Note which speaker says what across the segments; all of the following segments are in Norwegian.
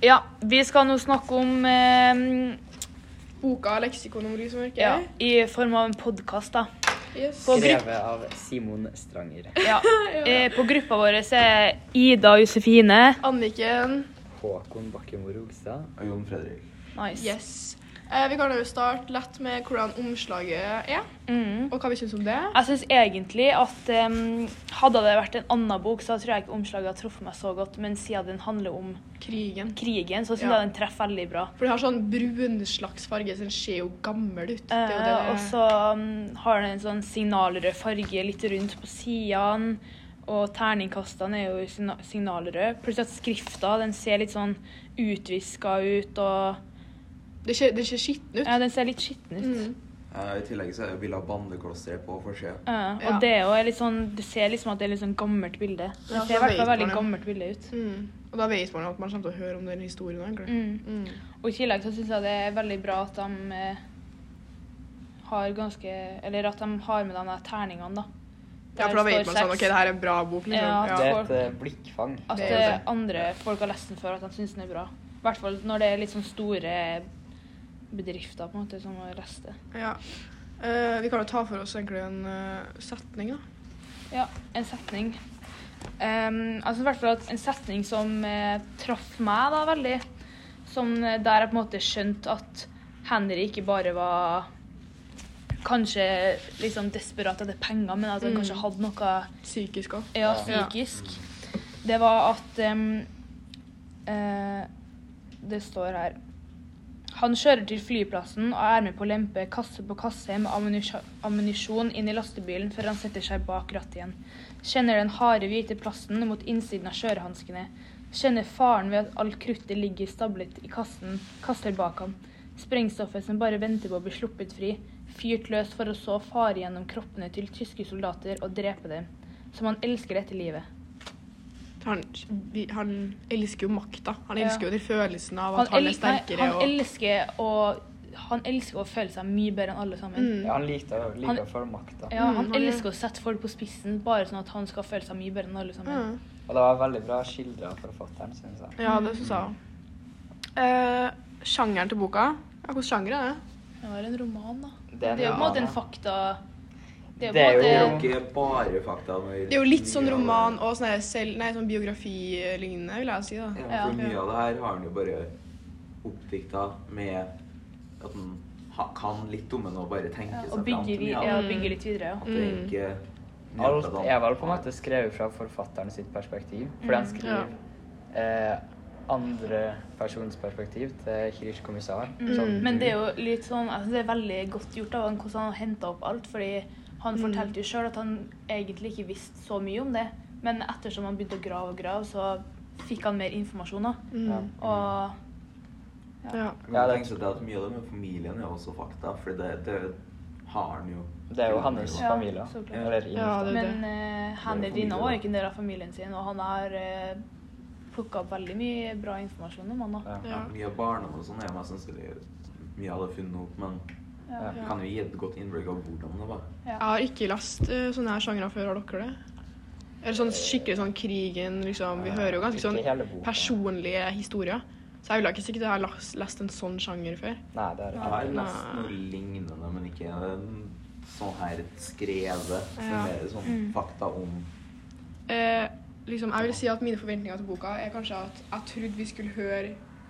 Speaker 1: Ja, vi skal nå snakke om eh,
Speaker 2: Boka leksikon om rus og mørke.
Speaker 1: ja, I form av en podkast, da.
Speaker 2: Yes.
Speaker 1: På gru-
Speaker 3: Skrevet av Simon Stranger.
Speaker 1: ja.
Speaker 2: Ja.
Speaker 1: eh, på gruppa vår er Ida og Josefine.
Speaker 2: Anniken.
Speaker 3: Håkon Bakkemor Olstad.
Speaker 4: Og Jon Fredrik.
Speaker 1: Nice.
Speaker 2: Yes. Eh, vi kan jo starte lett med hvordan omslaget er,
Speaker 1: Mm.
Speaker 2: og hva vi syns om det.
Speaker 1: Jeg syns egentlig at eh, hadde det vært en annen bok, så tror jeg ikke omslaget hadde truffet meg så godt. Men siden den handler om
Speaker 2: Krigen.
Speaker 1: krigen, så syns
Speaker 2: Ja.
Speaker 1: jeg den treffer veldig bra.
Speaker 2: For det har sånn brun slags farge, så den ser jo gammel ut. Det er jo det.
Speaker 1: Eh, og så mm, har den en sånn signalrød farge litt rundt på sidene. Og terningkastene er jo signa- signalrød. Pluss at skrifta den ser litt sånn utviska ut. og
Speaker 2: det ser, den ser skitten ut.
Speaker 1: ja, Den ser litt skitten ut.
Speaker 2: Mm.
Speaker 4: Eh, I tillegg så er det bilde av bandeklosteret på forsida.
Speaker 1: Ja, Eh, og
Speaker 2: Ja.
Speaker 1: det er jo litt sånn, Du ser liksom at det er litt sånn gammelt bilde. Det
Speaker 2: Ja,
Speaker 1: ser i hvert
Speaker 2: så
Speaker 1: fall
Speaker 2: vet man
Speaker 1: veldig
Speaker 2: det.
Speaker 1: gammelt bilde ut.
Speaker 2: Mm. Og da vet man jo at man kommer til å høre om den historien. egentlig.
Speaker 1: Mm.
Speaker 2: Mm.
Speaker 1: Og i tillegg så syns jeg det er veldig bra at de eh, har ganske Eller at de har med de der terningene, da.
Speaker 2: Ja, for da vet man sånn OK, det her er en bra bok. liksom.
Speaker 1: Ja.
Speaker 3: Det er et eh, blikkfang.
Speaker 1: At
Speaker 2: Det er jo
Speaker 1: eh,
Speaker 2: det.
Speaker 1: andre folk har lest den før, at de syns den er bra. I hvert fall når det er litt sånn store bedrifter på en måte som har lest det.
Speaker 2: Ja. Eh, vi kan jo ta for oss egentlig en eh, setning, da.
Speaker 1: Ja, en setning. Ehm, altså i hvert fall at En setning som eh, traff meg da veldig. Som eh, der jeg på en måte skjønte at Henry ikke bare var kanskje liksom desperat etter penger, men at han
Speaker 2: Mm.
Speaker 1: kanskje hadde noe
Speaker 2: Psykisk òg.
Speaker 1: ja,
Speaker 2: Ja.
Speaker 1: psykisk. Det var at ehm, eh, Det står her Han kjører til flyplassen og er med på å lempe kasse på kasse med ammunisjon- ammunisjon inn i lastebilen før han setter seg bak rattet igjen. Kjenner den harde, hvite plasten mot innsiden av kjørehanskene. Kjenner faren ved at all kruttet ligger stablet i kassen, kaster bak ham. Sprengstoffet som bare venter på å bli sluppet fri, fyrt løs for å så fare gjennom kroppene til tyske soldater og drepe dem, som han elsker etter livet.
Speaker 2: Han, vi- han elsker jo makta. Han
Speaker 1: Ja.
Speaker 2: elsker jo den følelsen av at han, er
Speaker 1: el- nei,
Speaker 2: sterkere.
Speaker 1: han elsker å han elsker å føle seg mye bedre enn alle sammen.
Speaker 2: Mm.
Speaker 3: Ja, han likte å
Speaker 1: Han-
Speaker 3: like å føle makta.
Speaker 1: Ja, han
Speaker 2: Mm, han gjør
Speaker 1: elsker å sette folk på spissen, bare sånn at han skal føle seg mye bedre enn alle sammen.
Speaker 2: Mm.
Speaker 3: Og det var veldig bra skildra av forfatteren, syns jeg.
Speaker 2: Ja,
Speaker 1: Mm.
Speaker 2: det syns jeg òg. Eh, sjangeren til boka? Ja, Hvilken sjanger er det?
Speaker 1: Det var en roman, da.
Speaker 3: Det er en
Speaker 1: Det er jo på en måte en
Speaker 3: roman,
Speaker 1: fakta
Speaker 3: Det er
Speaker 4: Det er
Speaker 3: jo-
Speaker 4: jo ikke bare fakta. men
Speaker 2: Det er jo litt sånn
Speaker 4: mye av det-
Speaker 2: roman og sånn her selv, nei, sånn biografilignende, vil jeg si. da.
Speaker 4: Ja,
Speaker 1: Ja.
Speaker 4: for mye av det her har han jo bare oppdikta med at han ha- kan litt om den og bare tenker
Speaker 1: ja,
Speaker 4: seg
Speaker 1: Å
Speaker 4: fram
Speaker 1: bygge,
Speaker 4: til
Speaker 1: vi,
Speaker 4: mye av
Speaker 1: ja,
Speaker 4: det.
Speaker 1: bygge litt videre,
Speaker 4: At
Speaker 1: ja.
Speaker 4: det
Speaker 2: Mm.
Speaker 4: ikke
Speaker 3: Alt er vel på en måte skrevet fra forfatteren sitt perspektiv, fordi
Speaker 1: Mm,
Speaker 3: han skriver eh, andre persons perspektiv til Kirsch kommissar.
Speaker 2: Mm.
Speaker 3: Sånn,
Speaker 1: Mm. Men det er
Speaker 3: du-
Speaker 1: jo litt sånn altså Det er veldig godt gjort av han hvordan han henta opp alt, fordi han
Speaker 2: Mm.
Speaker 1: fortalte jo sjøl at han egentlig ikke visste så mye om det, men ettersom han begynte å grave og grave, så fikk han mer informasjon, da.
Speaker 2: Mm.
Speaker 3: Ja.
Speaker 1: Og
Speaker 2: Ja.
Speaker 4: Men
Speaker 3: Ja,
Speaker 4: jeg
Speaker 3: det-
Speaker 4: tenker seg til at mye av det med familien er også fakta, for det, det har han jo.
Speaker 3: Det er jo hans
Speaker 1: Ja,
Speaker 3: familie.
Speaker 1: så klart.
Speaker 3: Eller
Speaker 2: Ja, det-
Speaker 3: innifra.
Speaker 1: Men uh, Hanny
Speaker 4: familie,
Speaker 1: Dina
Speaker 4: da.
Speaker 1: var jo ikke en del av familien sin, og han har uh, plukka opp veldig mye bra informasjon om han. da.
Speaker 3: Ja.
Speaker 2: Ja.
Speaker 4: Mye av barndommen og sånn er jo mest sannsynlig mye av det funnet opp, men
Speaker 1: Ja.
Speaker 3: Ja.
Speaker 4: vi kan jo gi et godt innblikk av hvordan det var.
Speaker 2: Jeg har ikke lest eh, sånne her sjangere før, har dere det? Eller sånn skikkelig sånn krigen, liksom. Vi hører jo ganske
Speaker 3: Ikke hele
Speaker 2: sånn
Speaker 3: boka.
Speaker 2: personlige historier. Så jeg ville ikke sikkert ha las- lest en sånn sjanger før.
Speaker 3: Nei, det er
Speaker 4: Jeg har
Speaker 3: ikke.
Speaker 4: lest noe lignende, men ikke en sånn her skrevet. som
Speaker 2: Ja.
Speaker 4: er sånn fakta om
Speaker 2: Eh, liksom, jeg vil si at mine forventninger til boka er kanskje at jeg trodde vi skulle høre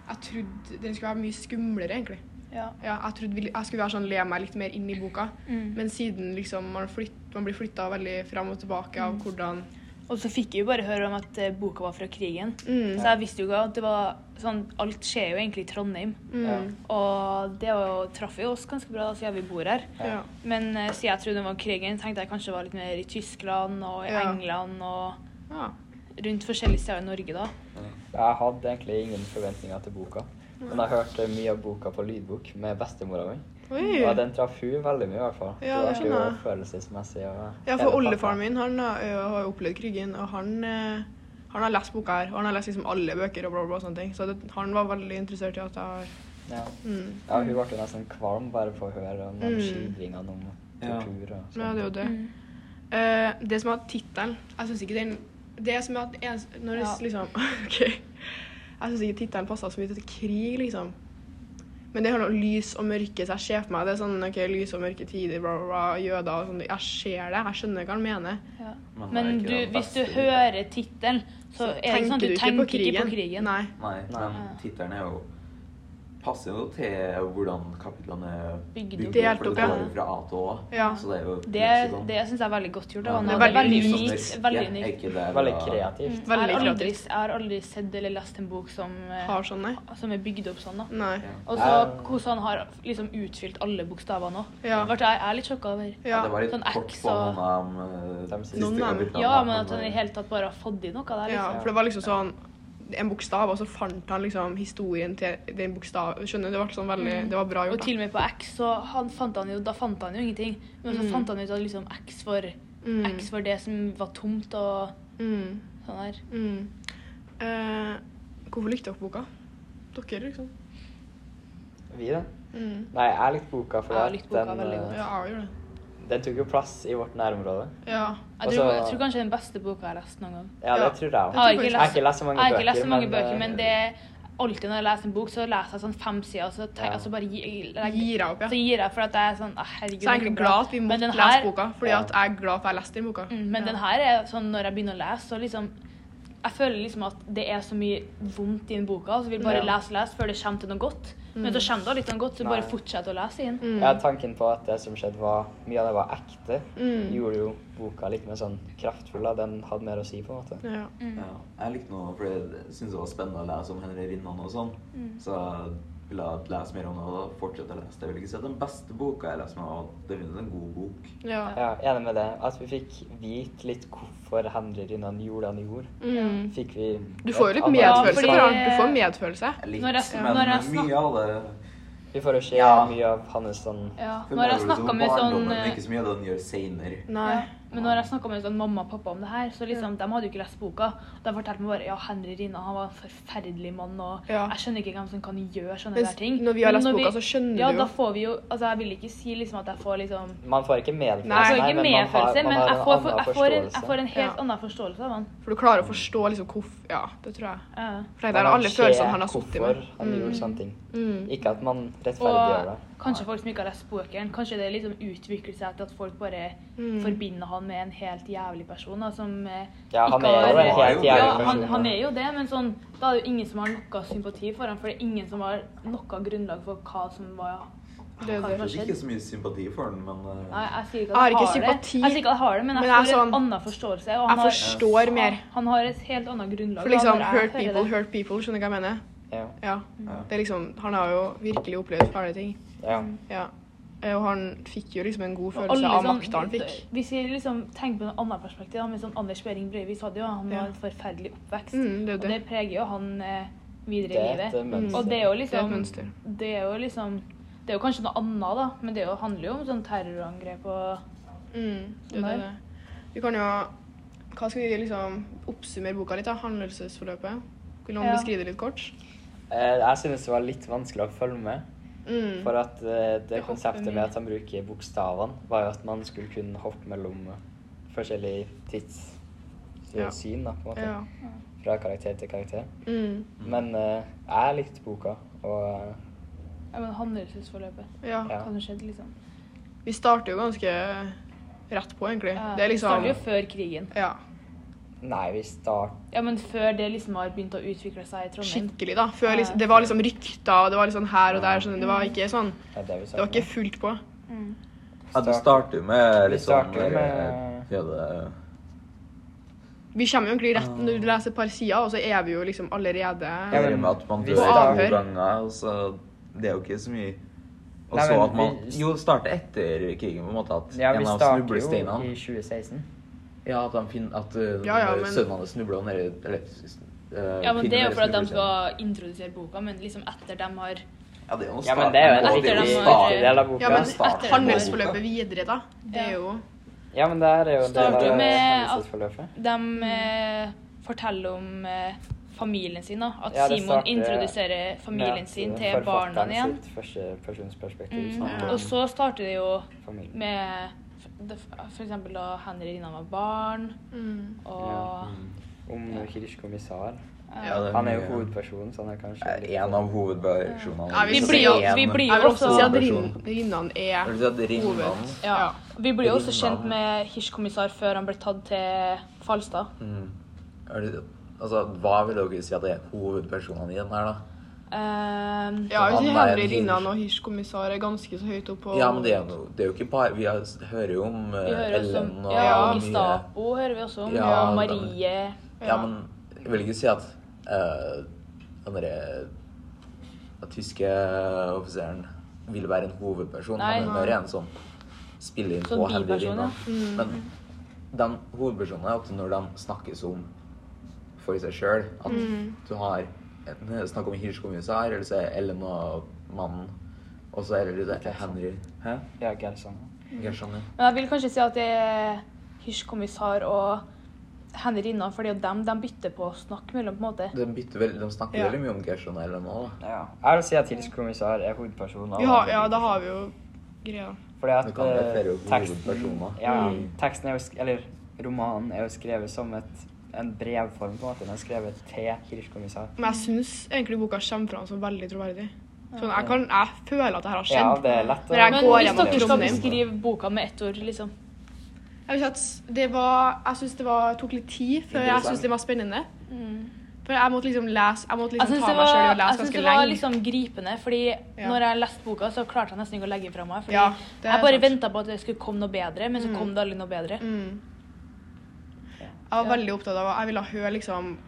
Speaker 2: Jeg trodde den skulle være mye skumlere, egentlig.
Speaker 1: Ja.
Speaker 2: Ja, jeg trodde vi, jeg skulle være sånn, le meg litt mer inn i boka.
Speaker 1: Mm.
Speaker 2: Men siden liksom, man, flytt, man blir flytta veldig fram og tilbake av hvordan
Speaker 1: Og så fikk jeg jo bare høre om at eh, boka var fra krigen.
Speaker 2: Mm.
Speaker 1: Så jeg visste jo ikke at det var sånn Alt skjer jo egentlig i Trondheim.
Speaker 2: Mm.
Speaker 1: Og det var jo, traff jo oss ganske bra da, siden vi bor her.
Speaker 2: Ja.
Speaker 1: Men eh, siden jeg trodde det var krigen, tenkte jeg kanskje det var litt mer i Tyskland og i
Speaker 2: Ja.
Speaker 1: England og
Speaker 2: ja.
Speaker 1: rundt forskjellige steder i Norge, da.
Speaker 3: Jeg hadde egentlig ingen forventninger til boka. Men jeg hørte mye av boka på lydbok med bestemora mi.
Speaker 2: Oi.
Speaker 3: Og den traff hun veldig mye, i hvert fall.
Speaker 2: Ja, det
Speaker 3: det var jo
Speaker 2: skjønner jeg.
Speaker 3: følelsesmessig og
Speaker 2: Ja,
Speaker 3: hele
Speaker 2: for oldefaren
Speaker 3: pakka.
Speaker 2: min han har ø, har jo opplevd krigen, og han, ø, han har lest boka her. Og han har lest liksom alle bøker og bla, bla, bla. og sånne ting. Så det, han var veldig interessert i at jeg har
Speaker 3: Ja.
Speaker 2: mm.
Speaker 3: ja, hun ble jo nesten kvalm bare for å høre om de
Speaker 2: Mm.
Speaker 3: skildringene om
Speaker 4: Ja.
Speaker 3: tortur og sånn.
Speaker 2: Men ja, det er jo det.
Speaker 1: Mm.
Speaker 2: Eh, det som er tittelen Jeg syns ikke den Det som er at ens, Når det
Speaker 1: Ja.
Speaker 2: s- liksom OK. Jeg Jeg syns ikke tittelen passa så mye til krig, liksom. Men det har noe lys og mørke, så jeg ser for meg det er sånn ok, lys og mørke tider, bla, bla, bla, jøder og sånn. Jeg ser det, jeg skjønner hva han mener.
Speaker 1: Ja.
Speaker 4: Men det er
Speaker 1: Men
Speaker 4: ikke
Speaker 1: du,
Speaker 4: den
Speaker 1: hvis du
Speaker 4: beste ideen.
Speaker 1: hører tittelen, så er det ikke sånn at du tenker ikke på krigen.
Speaker 2: Nei.
Speaker 4: Nei,
Speaker 3: Nei.
Speaker 4: men tittelen er jo passer jo til hvordan kapitlene er
Speaker 1: Bygd
Speaker 4: bygd
Speaker 1: opp.
Speaker 4: opp,
Speaker 2: Delt
Speaker 4: for
Speaker 2: opp,
Speaker 4: det
Speaker 2: ja.
Speaker 4: går jo fra A til Å.
Speaker 2: Ja.
Speaker 4: Så det er jo
Speaker 1: Det,
Speaker 4: leksikon.
Speaker 1: det syns jeg er veldig godt gjort. av
Speaker 4: Ja,
Speaker 1: han, og
Speaker 2: det
Speaker 1: Det
Speaker 2: er
Speaker 1: er veldig
Speaker 2: veldig
Speaker 1: unikt. Veldig
Speaker 4: sånn Ja, liksom er
Speaker 1: unikt.
Speaker 4: ikke det
Speaker 3: Veldig
Speaker 4: bra?
Speaker 3: kreativt.
Speaker 1: Jeg har,
Speaker 2: Veldig
Speaker 1: aldri,
Speaker 2: kreativt.
Speaker 1: jeg har aldri sett eller lest en bok som, eh,
Speaker 2: Har sånn, nei.
Speaker 1: som er bygd opp sånn. da.
Speaker 2: Nei.
Speaker 4: Ja.
Speaker 1: Og så hvordan han har liksom utfylt alle bokstavene òg.
Speaker 2: Ja.
Speaker 1: Jeg jeg er litt sjokka over.
Speaker 2: Ja.
Speaker 4: Det var litt
Speaker 1: Sånn
Speaker 4: kort
Speaker 1: X
Speaker 4: på
Speaker 1: og-
Speaker 4: noen av um, de
Speaker 3: De siste
Speaker 4: siste
Speaker 2: kapitlene,
Speaker 4: kapitlene.
Speaker 1: Ja, men at han i det hele tatt bare har fått i noe der.
Speaker 2: Ja,
Speaker 1: liksom.
Speaker 2: for det var liksom sånn en bokstav, og så fant han liksom historien til den bokstaven. Skjønner du? Det ble sånn veldig Det var bra
Speaker 1: Mm. Og
Speaker 2: gjort.
Speaker 1: til og med på X, så han fant han jo, da fant han jo ingenting. Men så
Speaker 2: Mm.
Speaker 1: fant han ut at liksom X for,
Speaker 2: Mm.
Speaker 1: X for det som var tomt og
Speaker 2: da. Mm.
Speaker 1: sånn der.
Speaker 2: Mm. Eh, hvorfor likte dere boka? Dere, liksom.
Speaker 3: Vi, da?
Speaker 2: Mm.
Speaker 3: Nei, jeg likte boka for
Speaker 1: Jeg har
Speaker 3: at
Speaker 1: likt boka veldig
Speaker 3: eh,
Speaker 1: godt.
Speaker 2: Ja, jeg gjør det.
Speaker 3: den tok jo plass i vårt nærområde.
Speaker 2: Ja.
Speaker 1: Jeg tror,
Speaker 3: Og så-
Speaker 1: jeg tror kanskje det er den beste boka jeg har lest noen gang.
Speaker 3: Ja,
Speaker 2: Ja.
Speaker 3: det tror
Speaker 1: Jeg
Speaker 3: jeg
Speaker 1: har
Speaker 2: tror
Speaker 3: òg.
Speaker 1: ikke
Speaker 2: faktisk-
Speaker 1: lest,
Speaker 3: Jeg har ikke lest så mange
Speaker 1: jeg har ikke
Speaker 3: bøker,
Speaker 1: lest så mange
Speaker 3: men,
Speaker 1: bøker, men
Speaker 3: eh,
Speaker 1: det er alltid når jeg leser en bok, så leser jeg sånn fem sider, og så, tenker,
Speaker 3: Ja.
Speaker 1: jeg- så bare gir, legger,
Speaker 2: Gir jeg opp, ja.
Speaker 1: så gir jeg, for at jeg er sånn ah, Herregud,
Speaker 2: Så jeg er egentlig glad at vi
Speaker 1: Men
Speaker 2: måtte
Speaker 1: den
Speaker 2: lese
Speaker 1: her-
Speaker 2: boka, fordi
Speaker 3: Ja.
Speaker 2: at jeg er glad for at jeg leste den boka.
Speaker 1: Mm, Men
Speaker 2: Ja.
Speaker 1: den her er sånn når jeg begynner å lese, så liksom Jeg føler liksom at det er så mye vondt i den boka, så jeg vil bare
Speaker 3: Ja.
Speaker 1: lese og lese før det kommer til noe godt. Men så kommer det litt noe godt, så
Speaker 3: Nei.
Speaker 1: bare fortsett å lese i den.
Speaker 2: Mm.
Speaker 3: Ja, tanken på at det som skjedde, var mye av det var ekte,
Speaker 2: Mm.
Speaker 3: gjorde jo boka litt mer sånn kraftfull. da. Den hadde mer å si, på en måte.
Speaker 2: Ja.
Speaker 1: Mm.
Speaker 4: Ja, jeg likte noe, for jeg syntes det var spennende å lese om Henry Rinnan og sånn.
Speaker 1: Mm.
Speaker 4: Så jeg ville lese mer om det, og da fortsette å lese det. Jeg vil ikke si at den beste boka jeg leser, men det var definitivt en god bok.
Speaker 2: Ja.
Speaker 3: Ja, Enig med det. At vi fikk vite litt hvorfor Henry Rinnan gjorde det han gjorde.
Speaker 2: Mm.
Speaker 3: Fikk vi
Speaker 2: Du får jo litt
Speaker 3: et annet
Speaker 1: fordi-
Speaker 2: medfølelse. for
Speaker 3: svar.
Speaker 2: han. Du får medfølelse.
Speaker 4: Litt,
Speaker 1: Når jeg-
Speaker 4: men
Speaker 1: når jeg
Speaker 4: mye av det
Speaker 3: Vi får jo se
Speaker 4: Ja.
Speaker 3: mye av hans sånn
Speaker 1: Ja. Når
Speaker 4: formidler
Speaker 1: jeg
Speaker 4: du
Speaker 1: snakka
Speaker 4: som
Speaker 1: med
Speaker 4: liksom
Speaker 1: sånn
Speaker 4: barndommen,
Speaker 1: Mm.
Speaker 4: men
Speaker 1: eh,
Speaker 4: ikke så mye av det den gjør senere.
Speaker 2: Nei.
Speaker 1: ja. men når jeg snakket med sånn mamma og pappa om det her, så liksom, de hadde jo ikke lest boka. De fortalte meg bare ja, Henry Rina han var en forferdelig mann, og
Speaker 2: Ja.
Speaker 1: jeg skjønner ikke hvem som kan gjøre sånne
Speaker 2: Mens
Speaker 1: der ting.
Speaker 2: når vi har
Speaker 1: Men
Speaker 2: lest boka, så skjønner
Speaker 1: ja,
Speaker 2: du jo.
Speaker 1: Ja, da får vi jo Altså, jeg vil ikke si liksom at jeg får liksom
Speaker 3: Man får ikke medfølelse,
Speaker 2: Nei.
Speaker 1: Jeg får Altså, ikke
Speaker 3: men man har,
Speaker 1: medfølelse,
Speaker 3: man
Speaker 1: men
Speaker 3: har
Speaker 1: jeg
Speaker 3: en
Speaker 1: får,
Speaker 3: annen
Speaker 1: jeg, får en, jeg får
Speaker 3: forståelse.
Speaker 1: en helt
Speaker 2: Ja.
Speaker 1: annen forståelse av han.
Speaker 2: For du klarer å forstå liksom hvorfor Ja, det tror jeg.
Speaker 1: Ja.
Speaker 2: For det er alle
Speaker 3: Man ser
Speaker 2: følelsene han har sittet med.
Speaker 3: Hvorfor han gjorde sånn. sånne ting.
Speaker 2: Mm.
Speaker 3: Ikke at man rettferdiggjør det.
Speaker 1: Og kanskje folk som ikke har lest bøkene, kanskje det liksom utvikler seg til at folk bare
Speaker 2: Mm.
Speaker 1: forbinder han med en helt jævlig person. Da, som eh,
Speaker 3: Ja, han
Speaker 1: ikke
Speaker 3: er jo
Speaker 1: har-
Speaker 3: en helt
Speaker 1: ja,
Speaker 3: jævlig
Speaker 1: han,
Speaker 3: person.
Speaker 1: han er jo det, men sånn, da er det jo ingen som har noe sympati for ham. For det er ingen som har noe grunnlag for hva som var
Speaker 2: Det er
Speaker 1: hva som
Speaker 2: det.
Speaker 1: har
Speaker 4: Jeg fikk
Speaker 1: skjedd.
Speaker 4: ikke så mye sympati for den, men eh,
Speaker 1: Nei, jeg sier ikke
Speaker 2: Jeg har
Speaker 1: at
Speaker 2: ikke
Speaker 1: jeg har det.
Speaker 2: sympati,
Speaker 1: Jeg sier ikke at jeg har det, men jeg,
Speaker 2: men jeg er
Speaker 1: får
Speaker 2: sånn-
Speaker 1: en annen forståelse. Og
Speaker 2: Jeg
Speaker 1: han, har-
Speaker 2: forstår mer.
Speaker 1: han har et helt annet grunnlag.
Speaker 2: For
Speaker 1: da, når
Speaker 2: liksom
Speaker 1: jeg hører
Speaker 2: hurt people,
Speaker 1: det.
Speaker 2: hurt people. Skjønner du hva jeg mener?
Speaker 3: Ja.
Speaker 2: Ja.
Speaker 4: Ja.
Speaker 2: Det er liksom Han har jo virkelig opplevd fæle ting.
Speaker 3: Ja.
Speaker 2: Ja. Eh, Og han fikk jo liksom en god
Speaker 1: Og
Speaker 2: følelse
Speaker 1: alle
Speaker 2: av
Speaker 1: sånn-
Speaker 2: makta han fikk.
Speaker 1: Hvis vi liksom tenker på noe annet perspektiv, da, med sånn Anders Behring Breivik så hadde jo han
Speaker 2: Ja.
Speaker 1: var en forferdelig oppvekst.
Speaker 2: Mm, det er
Speaker 1: og
Speaker 2: jo det.
Speaker 1: det preger jo han eh,
Speaker 3: Det
Speaker 1: videre i
Speaker 3: er et
Speaker 1: livet.
Speaker 3: eh, mønster.
Speaker 1: Og det er jo
Speaker 2: Det er et
Speaker 1: liksom
Speaker 2: mønster.
Speaker 1: Det er jo liksom Det er jo kanskje noe annet, da, men det er jo, handler jo om sånn terrorangrep og
Speaker 2: Mm, det, er det,
Speaker 1: Nei.
Speaker 2: det. Vi kan jo Hva skal vi liksom oppsummere boka litt, da? Handelsesforløpet. Vil noen
Speaker 1: Ja.
Speaker 2: beskrive det litt kort?
Speaker 3: Eh, Jeg synes det var litt vanskelig å følge med.
Speaker 2: Mm.
Speaker 3: For at eh, det
Speaker 1: hopper
Speaker 3: konseptet med
Speaker 1: mye.
Speaker 3: at han bruker bokstavene, var jo at man skulle kunne hoppe mellom eh, forskjellige tids eh,
Speaker 2: Ja.
Speaker 3: syn, da, på en måte.
Speaker 2: Ja.
Speaker 3: Fra karakter til karakter.
Speaker 2: Mm.
Speaker 3: Men eh, jeg likte boka, og eh,
Speaker 1: ja, men handelsesforløpet.
Speaker 2: ja.
Speaker 1: Hva
Speaker 3: Ja.
Speaker 1: som skjedde, liksom.
Speaker 2: Vi starter jo ganske rett på, egentlig.
Speaker 1: Ja,
Speaker 2: Det er liksom
Speaker 1: starter jo før krigen.
Speaker 2: ja,
Speaker 3: Nei, vi start...
Speaker 1: Ja, men før det liksom har begynt å utvikle seg i Trondheim.
Speaker 2: skikkelig, da. Før,
Speaker 1: Ja.
Speaker 2: liksom, det var liksom rykter, og det var liksom her og der. Sånn. Det var ikke sånn
Speaker 3: Ja, det vi
Speaker 2: Det var
Speaker 3: starter
Speaker 2: ikke
Speaker 3: med.
Speaker 2: fullt på.
Speaker 4: Ja, du starter jo med
Speaker 3: Vi
Speaker 4: litt sånn
Speaker 3: starter jo med-
Speaker 4: jøde...
Speaker 2: Vi kommer jo egentlig rett når du leser et par sider, og så er vi jo liksom allerede
Speaker 3: Ja,
Speaker 4: Jeg
Speaker 3: men
Speaker 4: med at man
Speaker 3: vi
Speaker 4: dør to
Speaker 2: starter-
Speaker 4: ganger, og så Det er jo ikke så mye Og
Speaker 3: Nei,
Speaker 4: så
Speaker 3: men
Speaker 4: at man
Speaker 3: vi-
Speaker 4: Jo, starte etter krigen, på en måte. At
Speaker 3: Ja, vi
Speaker 4: en av
Speaker 3: starter jo i
Speaker 4: snublesteinene
Speaker 3: 2016.
Speaker 4: Ja, at, de finner, at uh,
Speaker 2: Ja, ja, men-
Speaker 4: sønnen hans snubler og nede eller, uh,
Speaker 1: Ja, men Det er jo for at de
Speaker 4: snubler-
Speaker 1: skal introdusere boka, men liksom etter de har
Speaker 4: Ja, det er jo en
Speaker 3: Ja, men det er jo
Speaker 1: Jeg
Speaker 3: en
Speaker 4: start,
Speaker 1: liker
Speaker 3: viktig
Speaker 1: dem
Speaker 4: det er jo
Speaker 1: når-
Speaker 4: starten.
Speaker 3: viktig del av boka.
Speaker 2: Ja, men
Speaker 4: starter
Speaker 2: etter
Speaker 4: på
Speaker 2: handelsforløpet
Speaker 4: boka.
Speaker 2: videre, da. Det er jo
Speaker 3: Ja, men det her er jo en del
Speaker 1: Starter
Speaker 3: av
Speaker 1: med at-
Speaker 3: hendelsesforløpet.
Speaker 1: De eh, forteller om eh, familien sin. da. At
Speaker 3: Ja, det
Speaker 1: Simon
Speaker 3: starter
Speaker 1: introduserer
Speaker 3: Med
Speaker 1: familien
Speaker 3: at,
Speaker 1: sin
Speaker 3: eh,
Speaker 1: til barna
Speaker 3: forfatteren
Speaker 1: igjen.
Speaker 3: sitt første personsperspektiv.
Speaker 1: Mm.
Speaker 3: snakker om
Speaker 1: Og så starter det jo
Speaker 3: familien.
Speaker 1: med f- det- for eksempel da Henry Rinnan var barn,
Speaker 2: mm.
Speaker 1: og eh,
Speaker 3: Ja. Om Kirsch kommissar.
Speaker 4: Ja, det
Speaker 3: Han er jo
Speaker 4: mye-
Speaker 3: hovedpersonen, så han er kanskje sånn-
Speaker 4: er En av hovedversjonene.
Speaker 2: Ja, vi
Speaker 1: Vi
Speaker 4: liksom
Speaker 1: blir jo,
Speaker 4: en-
Speaker 1: vi blir
Speaker 2: Jeg
Speaker 1: jo
Speaker 2: vil også si at
Speaker 1: også
Speaker 4: Hovedperson.
Speaker 2: Rin- Rinnan er
Speaker 4: Vil du si at Rinnan
Speaker 2: hoved.
Speaker 1: ja, Vi blir jo også
Speaker 4: Rinnan.
Speaker 1: kjent med Hirschkommissar før han ble tatt til Falstad.
Speaker 4: mm. Er det- Altså, Hva vil dere si at er hovedpersonene i den her, da?
Speaker 1: Ehm,
Speaker 2: Ja, jeg vil si
Speaker 4: Han er en
Speaker 2: Henry
Speaker 4: hir.
Speaker 2: Rinnan og Hirschkommissar er ganske så høyt oppe. og-
Speaker 4: Ja, men det er, jo- det er jo ikke bare Vi har, hører jo om eh,
Speaker 1: vi hører også
Speaker 4: Ellen
Speaker 1: om
Speaker 4: og
Speaker 1: ja,
Speaker 2: mye-
Speaker 1: Gestapo, hører vi også om,
Speaker 4: Ja,
Speaker 1: og Marie.
Speaker 4: Ja, men jeg vil ikke si at eh, den derre den tyske eh, offiseren vil være en hovedperson.
Speaker 1: Nei.
Speaker 4: han er mer en som spiller inn
Speaker 1: Sånn
Speaker 4: på Henry
Speaker 1: biperson,
Speaker 4: Rinnan.
Speaker 1: ja. Mm.
Speaker 4: Men den hovedpersonen er ofte når de snakkes om for seg sjøl. At
Speaker 1: Mm.
Speaker 4: du har enten er det snakk om hirskommissær, eller så er Ellen og mannen. Og så er det litt Henry Hæ?
Speaker 3: Ja,
Speaker 4: sånn.
Speaker 3: Gelson.
Speaker 1: Mm.
Speaker 4: Gershon, ja.
Speaker 1: Men jeg vil kanskje si at det er Hirschkommissar og Henry Rinnan, for det er jo dem de bytter på å snakke mellom, på en måte.
Speaker 4: De, bytter veldig, de snakker
Speaker 2: Ja.
Speaker 4: veldig mye om Gershon og Ellen òg, da.
Speaker 3: Ja. Jeg vil si at Hilskommissar er hovedpersonen.
Speaker 2: Vi har, ja, da har vi jo greia.
Speaker 3: Fordi at
Speaker 4: Det kan være
Speaker 3: eh,
Speaker 4: flere
Speaker 3: teksten,
Speaker 4: hovedpersoner. Mm.
Speaker 3: ja, teksten er jo sk Eller romanen er jo skrevet som et, en brevform, på en måte. Den er skrevet til Hirschkommissar.
Speaker 2: Men jeg syns egentlig boka kommer fram som veldig troverdig. Sånn, jeg, kan, jeg føler at det her har
Speaker 3: Ja,
Speaker 2: skjedd.
Speaker 3: det er lett å
Speaker 2: Når jeg
Speaker 1: Men
Speaker 2: går
Speaker 1: hvis
Speaker 2: gjennom
Speaker 1: dere skal
Speaker 2: Trondheim.
Speaker 1: beskrive boka med ett ord, liksom
Speaker 2: Jeg, vil si at det var, jeg syns det var, tok litt tid før jeg syns det var spennende. For jeg måtte liksom lese Jeg
Speaker 1: Mm.
Speaker 2: måtte
Speaker 1: Jeg
Speaker 2: liksom
Speaker 1: syns
Speaker 2: ta
Speaker 1: det
Speaker 2: meg sjøl i å
Speaker 1: var, jeg
Speaker 2: lese
Speaker 1: synes
Speaker 2: ganske
Speaker 1: det var
Speaker 2: lenge.
Speaker 1: liksom gripende, fordi
Speaker 2: Ja.
Speaker 1: når jeg leste boka, så klarte jeg nesten ikke å legge den fra meg. Fordi
Speaker 2: Ja, det er
Speaker 1: jeg bare
Speaker 2: sant.
Speaker 1: venta på at det skulle komme noe bedre, men så kom det aldri noe bedre.
Speaker 2: Mm. Jeg var veldig opptatt av Jeg ville høre liksom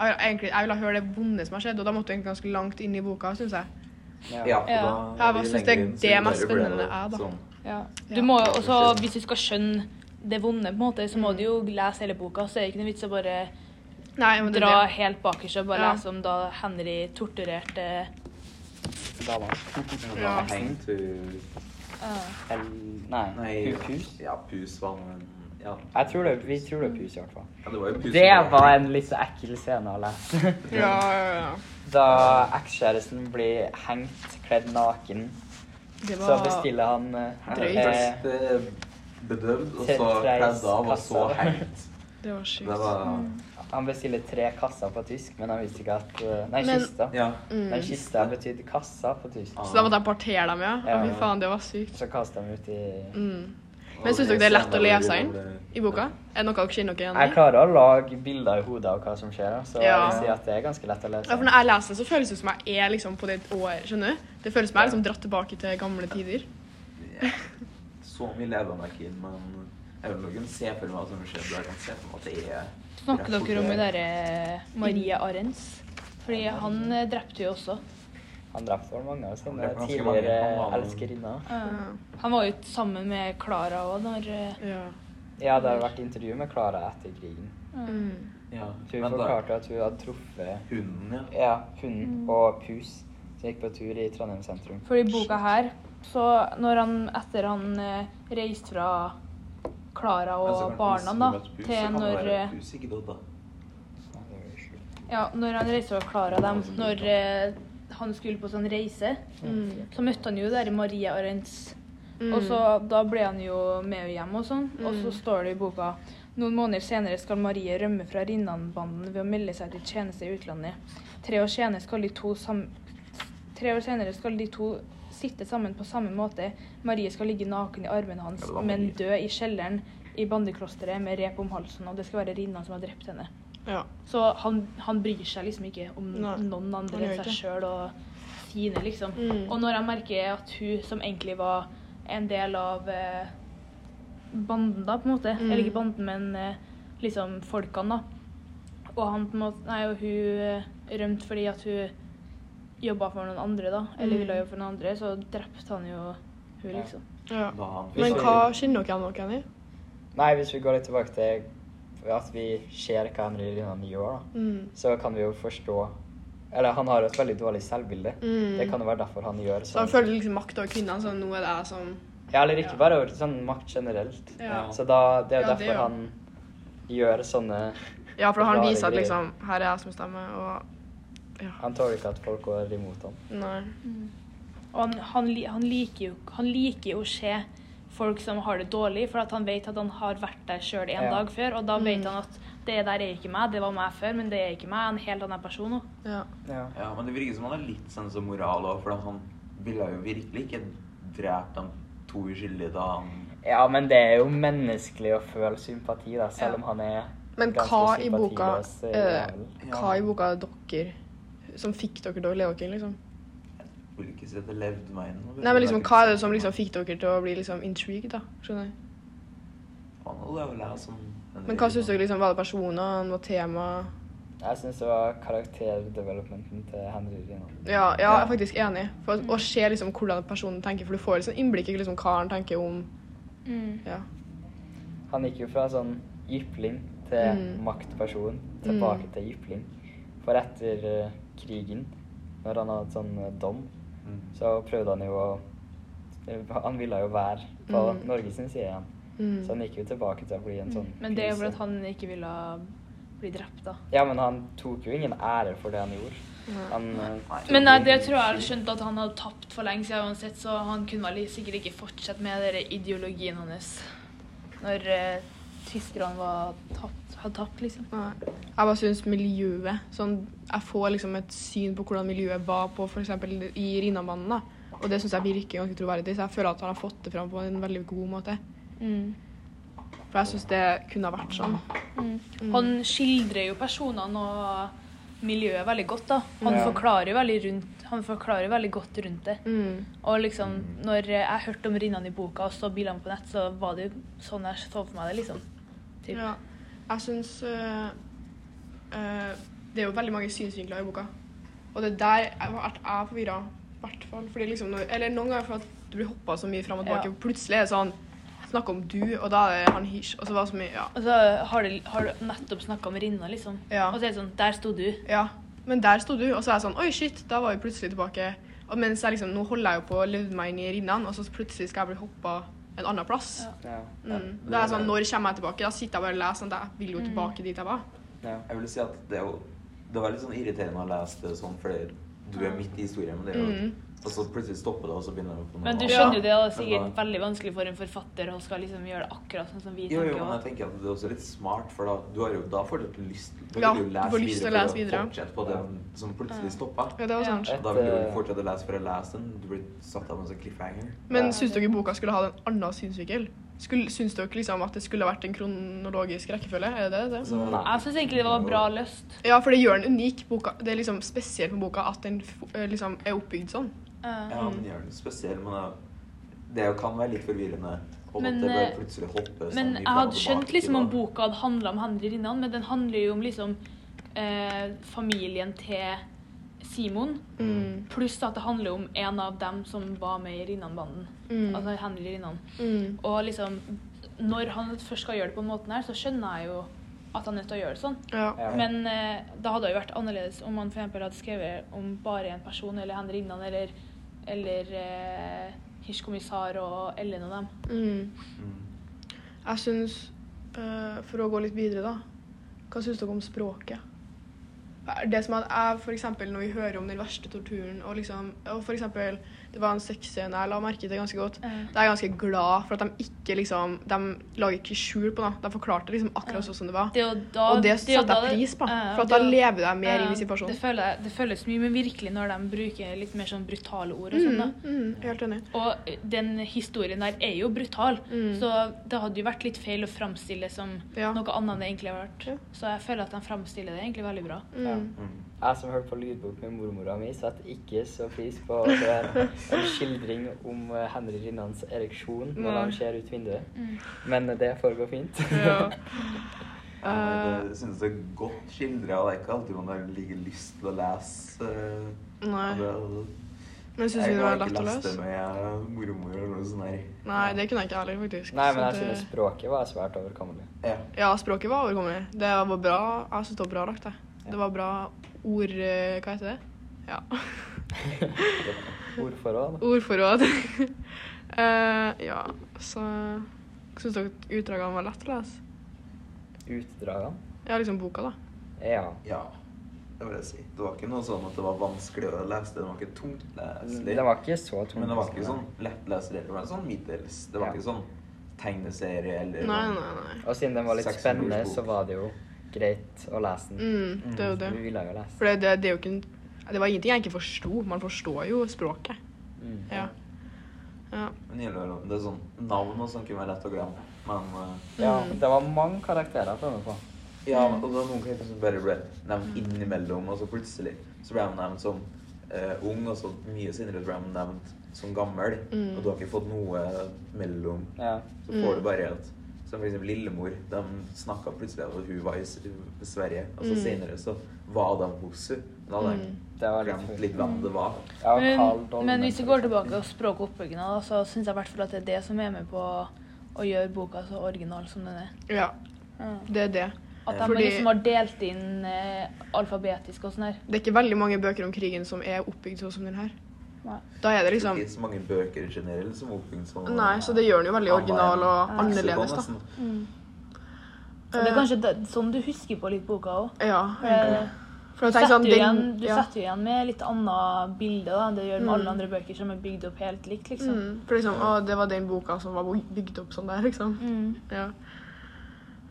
Speaker 2: jeg ville, egentlig, jeg ville høre det vonde som har skjedd, og da måtte jeg egentlig ganske langt inn i boka, syns jeg.
Speaker 4: Ja, for
Speaker 1: Ja.
Speaker 4: da
Speaker 2: Ja,
Speaker 4: er vi
Speaker 2: hva synes
Speaker 4: lenger
Speaker 2: dere
Speaker 4: inn, så
Speaker 2: det
Speaker 4: vi
Speaker 2: er mest
Speaker 4: bare ble
Speaker 2: spennende
Speaker 4: det
Speaker 2: er, da?
Speaker 4: sånn.
Speaker 1: Du må jo også, hvis du skal skjønne det vonde, på en måte, så må
Speaker 2: Mm.
Speaker 1: du jo lese hele boka. Så er det ikke noe vits å bare
Speaker 2: Nei, men det, er
Speaker 1: dra
Speaker 2: det.
Speaker 1: helt bakerst og bare
Speaker 2: Ja.
Speaker 1: lese om da Henry torturerte
Speaker 3: Dama.
Speaker 2: Ja.
Speaker 4: Hengt til-
Speaker 3: Eller Nei,
Speaker 4: Nei,
Speaker 3: pu- pus.
Speaker 4: Ja, pus var noe ja.
Speaker 3: Jeg tror det, vi tror det er pus, i hvert fall.
Speaker 4: ja, det var jo pus.
Speaker 3: Det var en litt så ekkel scene å lese.
Speaker 2: Ja, ja, ja.
Speaker 3: Da ekskjæresten blir hengt kledd naken,
Speaker 2: Det
Speaker 3: så
Speaker 2: var
Speaker 3: bestiller han eh,
Speaker 2: Drøyt.
Speaker 3: eh,
Speaker 4: Først eh, bedøvd, og så
Speaker 3: Tiltreis-
Speaker 4: kledd av, og så
Speaker 3: kassa.
Speaker 4: hengt.
Speaker 2: Det var sjukt.
Speaker 4: Det var
Speaker 2: Mm.
Speaker 3: Han bestiller tre kasser på tysk, men han visste ikke at eh, Nei,
Speaker 2: Men-
Speaker 3: kista.
Speaker 4: Ja.
Speaker 3: Den kista betydde kassa på tysk.
Speaker 2: Mm. Så da måtte jeg partere dem, ja? ja.
Speaker 3: Ja.
Speaker 2: Fy faen, det var sykt.
Speaker 3: Så kastet han ut i
Speaker 2: Mm. Men syns dere det er lett å lese inn i boka? Er det noe dere kjenner dere igjen
Speaker 3: Jeg
Speaker 2: i?
Speaker 3: klarer å lage bilder i hodet av hva som skjer, så
Speaker 2: Ja.
Speaker 3: jeg vil si at det er ganske lett å lese.
Speaker 2: Ja, for Når jeg leser det, så føles det som jeg er liksom på det år, skjønner du? Det føles som jeg er liksom dratt tilbake til gamle tider.
Speaker 4: Så mye lever man ikke inn, men jeg vil ikke se for meg hva som skjer. men Jeg kan se for meg at det er
Speaker 1: Snakker dere om det derre Marie Arens? Fordi han eh, drepte jo også.
Speaker 3: Han drepte vel mange av
Speaker 4: Han
Speaker 3: sine
Speaker 4: drepte ganske
Speaker 3: tidligere
Speaker 4: mange. Han var-
Speaker 3: elskerinner.
Speaker 2: Ja.
Speaker 1: Han var jo sammen med Klara òg når eh,
Speaker 2: Ja.
Speaker 3: Ja, det har vært intervju med Klara etter krigen.
Speaker 2: Mm.
Speaker 4: Ja,
Speaker 3: Hun
Speaker 4: men da,
Speaker 3: forklarte at hun hadde truffet
Speaker 4: hunden, ja.
Speaker 3: ja,
Speaker 2: Mm.
Speaker 3: hunden og pus som gikk på tur i Trondheim sentrum.
Speaker 1: For i boka her, så når han etter han eh, reiste fra Klara og
Speaker 4: Altså,
Speaker 1: barna,
Speaker 4: hvis du
Speaker 1: da,
Speaker 4: møter pus, så
Speaker 1: til
Speaker 4: kan det
Speaker 1: når
Speaker 4: være
Speaker 1: eh,
Speaker 4: Pus ikke død, da.
Speaker 3: Ja, det var jo sjukt.
Speaker 1: Ja, når han reiste fra Klara dem, når eh, han skulle på sånn reise,
Speaker 3: Mm.
Speaker 1: så møtte han jo der Maria Arentz.
Speaker 2: Mm.
Speaker 1: Og så da ble han jo med hjem og sånn, og så står det i boka noen måneder senere skal Marie rømme fra Rinnan-banden ved å melde seg til tjeneste i utlandet. Tre år senere skal de to sam Tre år senere skal de to sitte sammen på samme måte. Marie skal ligge naken i armen hans,
Speaker 4: Ja, det var
Speaker 1: men
Speaker 4: Marie.
Speaker 1: dø i kjelleren i bandeklosteret med rep om halsen, og det skal være Rinnan som har drept henne.
Speaker 2: ja.
Speaker 1: Så han, han bryr seg liksom ikke om
Speaker 2: Nei,
Speaker 1: noen
Speaker 2: han
Speaker 1: andre
Speaker 2: gjør
Speaker 1: enn seg
Speaker 2: ikke.
Speaker 1: sjøl og sine, liksom.
Speaker 2: Mm.
Speaker 1: Og når jeg merker at hun som egentlig var en del av eh, banden, da, på en måte
Speaker 2: Mm.
Speaker 1: Eller ikke banden, men eh, liksom folkene, da. Og han på en måte Nei, og hun eh, rømte fordi at hun jobba for noen andre, da. Eller ville jobbe for noen andre, så drepte han jo hun,
Speaker 3: Ja.
Speaker 1: liksom.
Speaker 2: Mm. ja.
Speaker 4: Da han fikk
Speaker 2: Men hva kjenner dere igjen noe igjen i?
Speaker 3: Nei, hvis vi går litt tilbake til at vi ser hva Henry Linnan gjør, da,
Speaker 2: Mm.
Speaker 3: så kan vi jo forstå Eller han har jo et veldig dårlig selvbilde.
Speaker 2: Mm.
Speaker 3: Det kan jo være derfor han gjør
Speaker 2: Så han
Speaker 3: sånn.
Speaker 2: føler liksom makt over kvinnene, så nå er det jeg som
Speaker 3: Ja, eller ikke bare over sånn makt generelt.
Speaker 2: Ja.
Speaker 3: Så da, det er jo
Speaker 2: Ja, det
Speaker 3: derfor
Speaker 2: jo.
Speaker 3: han gjør sånne
Speaker 2: Ja, for han
Speaker 3: Forklarer
Speaker 2: viser at
Speaker 3: greier.
Speaker 2: liksom Her er jeg som stemmer, og Ja.
Speaker 3: Han tåler ikke at folk går imot ham.
Speaker 2: Nei.
Speaker 1: Og han, han, li- han, liker jo, han liker jo å se folk som har det dårlig, for at han vet at han har vært der sjøl en
Speaker 3: Ja.
Speaker 1: dag før, og da vet han at Det der er ikke meg. Det var meg før, men det er ikke meg. Jeg er en helt annen person nå.
Speaker 2: Ja.
Speaker 3: Ja.
Speaker 4: Ja, men det virker som han har litt sens og moral òg, for han ville jo virkelig ikke drept de to uskyldige da han
Speaker 3: Ja, men det er jo menneskelig å føle sympati, da,
Speaker 1: Ja.
Speaker 3: selv om han er
Speaker 2: Men
Speaker 3: ganske
Speaker 2: hva i boka
Speaker 3: sympatiløs
Speaker 2: eh,
Speaker 3: jævel.
Speaker 2: Hva i boka er dere som fikk dere til å leve dere, liksom?
Speaker 4: ville ikke si at det levde meg inn.
Speaker 2: Nei, men liksom, hva er det som liksom fikk dere til å bli liksom intrigued, da? Skjønner jeg.
Speaker 4: Han hadde jo lært som en
Speaker 2: Men hva syns
Speaker 4: del.
Speaker 2: dere liksom, var det personene, var tema?
Speaker 3: Jeg syns det var karakterdevelopmenten til Henry Rina.
Speaker 2: Ja, ja, jeg
Speaker 3: Ja.
Speaker 2: er faktisk enig. For å- å se liksom hvordan personen tenker, for du får liksom innblikk i liksom hva han tenker om Ja.
Speaker 3: Han gikk jo fra sånn jypling til
Speaker 2: Mm.
Speaker 3: maktperson, tilbake til jypling. For etter eh, krigen, når han hadde sånn eh, dom,
Speaker 4: Mm.
Speaker 3: så prøvde han jo å eh, Han ville jo være på
Speaker 2: Mm.
Speaker 3: Norges side igjen.
Speaker 2: Mm.
Speaker 3: Så han gikk jo tilbake til å bli en sånn
Speaker 1: Men det er jo fordi
Speaker 3: krise.
Speaker 1: at han ikke ville bli drept, da.
Speaker 3: Ja, men han tok jo ingen ære for det han gjorde.
Speaker 2: Nei.
Speaker 3: Han eh,
Speaker 4: Nei.
Speaker 3: tok
Speaker 1: Men nei,
Speaker 3: jo
Speaker 1: det
Speaker 3: ingen
Speaker 1: tror jeg jeg
Speaker 3: skyld.
Speaker 1: skjønte at han hadde tapt for lenge siden uansett, så han kunne vel sikkert ikke fortsette med den ideologien hans når eh, tyskerne var tapt, hadde tapt, liksom.
Speaker 2: Nei. Jeg bare syns miljøet sånn, Jeg får liksom et syn på hvordan miljøet var på f.eks. i Rinnamannen. da. Og det syns jeg virker ganske troverdig, så jeg føler at han har fått det fram på en veldig god måte. For jeg syns det kunne ha vært sånn.
Speaker 1: Han skildrer jo personene og miljøet veldig godt, da. Han
Speaker 3: Ja.
Speaker 1: forklarer jo veldig, rundt, han forklarer veldig godt rundt det.
Speaker 2: Mm.
Speaker 1: Og liksom, når eh, jeg hørte om Rinnan i boka og så bildene på nett, så var det jo sånn jeg så for meg det, liksom. Typ.
Speaker 2: Ja. Jeg syns øh, øh, Det er jo veldig mange synsvinkler i boka. Og det der jeg ble jeg forvirra. I hvert fall. Fordi liksom, når- eller noen ganger for at du blir hoppa så mye fram og tilbake.
Speaker 1: Ja.
Speaker 2: Plutselig er det sånn Snakk om du, og da er det han hysj. Og så var det så mye Ja.
Speaker 1: Og så har du, har du nettopp snakka om Rinnan, liksom.
Speaker 2: Ja.
Speaker 1: Og så er det sånn Der sto du.
Speaker 2: Ja, men der sto du, og så er jeg sånn Oi, shit, da var vi plutselig tilbake. Og mens jeg liksom, Nå holder jeg jo på å leve meg inn i rinnene, og så plutselig skal jeg bli hoppa en annen plass.
Speaker 1: Ja.
Speaker 3: Ja,
Speaker 2: Mm. Da er jeg sånn Når kommer jeg tilbake? Da sitter jeg bare og leser sånn at jeg
Speaker 1: Mm.
Speaker 2: vil jo tilbake dit jeg var.
Speaker 3: ja.
Speaker 4: Jeg vil si at det er jo Det var litt sånn irriterende å lese det sånn, fordi du er midt i historien, men det er jo
Speaker 2: Mm.
Speaker 4: Og så plutselig stopper det, og så begynner det på noe
Speaker 1: Men du
Speaker 4: annet.
Speaker 1: skjønner jo det, det er
Speaker 4: Men
Speaker 1: sikkert
Speaker 4: da-
Speaker 1: veldig vanskelig for en forfatter å skal liksom gjøre det akkurat sånn som vi
Speaker 4: Jo, jo,
Speaker 1: tenker.
Speaker 4: men jeg
Speaker 1: også.
Speaker 4: tenker at det er også litt smart, for da, du har jo, da får du lyst da
Speaker 2: Ja,
Speaker 4: vil jo
Speaker 2: du får lyst til å
Speaker 4: for
Speaker 2: lese videre.
Speaker 4: Fortsette på det som plutselig stoppa.
Speaker 2: Ja, det sånn. var sant.
Speaker 3: Ja.
Speaker 4: Da vil du jo fortsette å lese for å lese den. Du blir satt av en sånn cliffhanger.
Speaker 2: Men syns dere boka skulle ha en annen synsvinkel? Skulle, syns dere liksom at det skulle vært en kronologisk rekkefølge? Er det det? det?
Speaker 4: Så-
Speaker 3: Nei.
Speaker 1: Mm, Jeg syns egentlig det var bra løst.
Speaker 2: Ja, for det gjør den unik. Boka, det er liksom spesielt med boka at den f- eh, liksom er oppbygd sånn.
Speaker 1: Eh,
Speaker 4: Ja, den gjør det spesiell, men det, det jo kan være litt forvirrende. Og
Speaker 1: Men,
Speaker 4: at det bare
Speaker 1: eh,
Speaker 4: plutselig hopper sånn
Speaker 1: Men
Speaker 4: i
Speaker 1: jeg
Speaker 4: fram og
Speaker 1: hadde skjønt
Speaker 4: tilbake,
Speaker 1: liksom om
Speaker 4: da.
Speaker 1: boka hadde handla om Henry Rinnan, men den handler jo om liksom eh, familien til Simon.
Speaker 2: Mm.
Speaker 1: Pluss at det handler om en av dem som var med i Rinnan-banden.
Speaker 2: Mm.
Speaker 1: Altså Henry Rinnan.
Speaker 2: Mm.
Speaker 1: Og liksom Når han først skal gjøre det på den måten her, så skjønner jeg jo at han er nødt til å gjøre det sånn.
Speaker 2: Ja.
Speaker 3: Ja.
Speaker 1: Men eh, det hadde jo vært annerledes om man for eksempel hadde skrevet om bare en person, eller Henry Rinnan, eller, eller eh, Hirsch kommissar og Ellen og dem.
Speaker 2: Mm.
Speaker 4: Mm.
Speaker 2: Jeg syns eh, For å gå litt videre, da. Hva syns dere om språket? Er Det som at jeg, for eksempel, Når vi hører om den verste torturen og liksom, og for eksempel, Det var en sexscene jeg la merke til ganske godt.
Speaker 1: Ja.
Speaker 2: Da er jeg ganske glad for at de ikke liksom, de lager ikke skjul på det. De forklarte liksom
Speaker 1: Ja.
Speaker 2: akkurat sånn som det var.
Speaker 1: Det er jo da,
Speaker 2: og det
Speaker 1: er jo
Speaker 2: setter
Speaker 1: da
Speaker 2: jeg
Speaker 1: det-
Speaker 2: pris på,
Speaker 1: Ja,
Speaker 2: for at
Speaker 1: det er
Speaker 2: da
Speaker 1: jo-
Speaker 2: lever jeg mer
Speaker 1: Ja,
Speaker 2: inn i situasjonen.
Speaker 1: Det, føler, jeg- det føles mye, men virkelig når de bruker litt mer sånn brutale ord og sånn.
Speaker 2: Mm,
Speaker 1: da.
Speaker 2: mm, helt enig.
Speaker 1: Og den historien der er jo brutal,
Speaker 2: Mm.
Speaker 1: så det hadde jo vært litt feil å framstille det som
Speaker 2: Ja.
Speaker 1: noe annet enn det egentlig har vært.
Speaker 2: Ja.
Speaker 1: Så jeg føler at de framstiller det egentlig veldig bra.
Speaker 2: Mm.
Speaker 4: Mm.
Speaker 3: Jeg som hørte på lydbok med mormora mi, setter ikke så pris på at det er en skildring om eh, Henry Rinnans ereksjon når han ser ut vinduet. Men eh, det foregår fint.
Speaker 2: Mm. Ja. Eh,
Speaker 4: Ja, men det
Speaker 1: Eh.
Speaker 4: synes jeg er godt skildret, og det er ikke alltid man har like lyst til å lese. eh,
Speaker 2: Nei.
Speaker 4: det-
Speaker 2: Men syns
Speaker 4: jeg
Speaker 2: vi det
Speaker 4: har
Speaker 2: var
Speaker 4: ikke
Speaker 2: lett å
Speaker 4: lest
Speaker 2: løse?
Speaker 4: det med eh, mormor eller noe sånt der.
Speaker 2: Nei, det kunne jeg ikke heller, faktisk.
Speaker 3: Nei, men
Speaker 2: Så
Speaker 3: jeg
Speaker 2: det-
Speaker 3: synes språket var svært overkommelig.
Speaker 4: Ja.
Speaker 2: Ja, språket var overkommelig. Det var bra. Jeg synes det var bra lagt, jeg. Det var bra ord... eh, Hva heter det? Ja.
Speaker 3: Ordforråd.
Speaker 2: Ordforråd. Eh, ja, så Syns dere at utdragene var lett å lese?
Speaker 3: Utdragene.
Speaker 2: Ja, liksom boka, da.
Speaker 3: Ja.
Speaker 4: ja, det vil jeg si. Det var ikke noe sånn at det var vanskelig å lese, det var ikke tungt leselig.
Speaker 3: Det var ikke så tungt.
Speaker 4: Men det var ikke sånn lettleselig, det var sånn middels. Det var
Speaker 3: Ja.
Speaker 4: ikke sånn tegneserie eller
Speaker 2: Nei,
Speaker 4: sånn-
Speaker 2: nei, nei.
Speaker 3: Og siden den var litt
Speaker 4: 600
Speaker 3: spennende,
Speaker 4: ordsbok.
Speaker 3: så var det jo greit å lese den.
Speaker 2: Mm, det er jo det.
Speaker 3: Vi ville jo lese.
Speaker 2: For det, det, det er jo ikke en, Det var ingenting jeg ikke forsto. Man forstår jo språket.
Speaker 3: Mm.
Speaker 2: Ja. ja.
Speaker 4: Men innimellom- Det er sånn navn og sånn kunne være lett å glemme. Men eh,
Speaker 3: Ja, det var mange karakterer på meg på.
Speaker 4: ja, og
Speaker 2: Mm.
Speaker 4: det var noen klipp som bare ble nevnt innimellom, og så plutselig så ble de nevnt som eh, ung, og så mye senere ble de nevnt som gammel.
Speaker 2: Mm.
Speaker 4: Og du har ikke fått noe mellom.
Speaker 3: Ja.
Speaker 4: Så
Speaker 2: Mm.
Speaker 4: får du bare at Som for eksempel Lillemor. De snakka plutselig om at hun var i S- Sverige, og så
Speaker 2: Mm.
Speaker 4: senere så var de hos henne. Da hadde de
Speaker 2: Mm.
Speaker 3: Det var litt
Speaker 4: glemt litt hvem det var.
Speaker 3: Ja, Karl
Speaker 1: Men,
Speaker 3: Dolmen,
Speaker 1: men hvis vi
Speaker 3: for
Speaker 1: går
Speaker 3: eksempel.
Speaker 1: tilbake til språk og oppbyggingen, da, så syns jeg i hvert fall at det er det som er med på å gjøre boka så original som den er.
Speaker 2: ja. Det er det.
Speaker 1: At de
Speaker 2: Fordi-
Speaker 1: liksom har delt inn eh, alfabetisk og sånn her.
Speaker 2: Det er ikke veldig mange bøker om krigen som er oppbygd sånn som den her.
Speaker 1: Nei.
Speaker 2: Da er det
Speaker 4: Det er
Speaker 2: liksom
Speaker 4: ikke så mange bøker generelt som oppbygd sånn.
Speaker 2: Nei, så det gjør den jo veldig
Speaker 4: Han var en
Speaker 2: original og
Speaker 4: heksekonge,
Speaker 2: annerledes, da.
Speaker 4: nesten.
Speaker 1: Og det er kanskje det- sånn du husker på litt boka òg.
Speaker 2: Eh. Ja. For
Speaker 1: Eh, Du
Speaker 2: å tenke
Speaker 1: setter
Speaker 2: sånn,
Speaker 1: jo igjen,
Speaker 2: den,
Speaker 1: du
Speaker 2: ja.
Speaker 1: setter jo igjen med litt annet bilde da, enn det gjør med alle andre bøker som er bygd opp helt likt. liksom.
Speaker 2: Mm, for liksom, å, det var den boka som var bygd opp sånn der, liksom.
Speaker 1: Mm.
Speaker 2: Ja.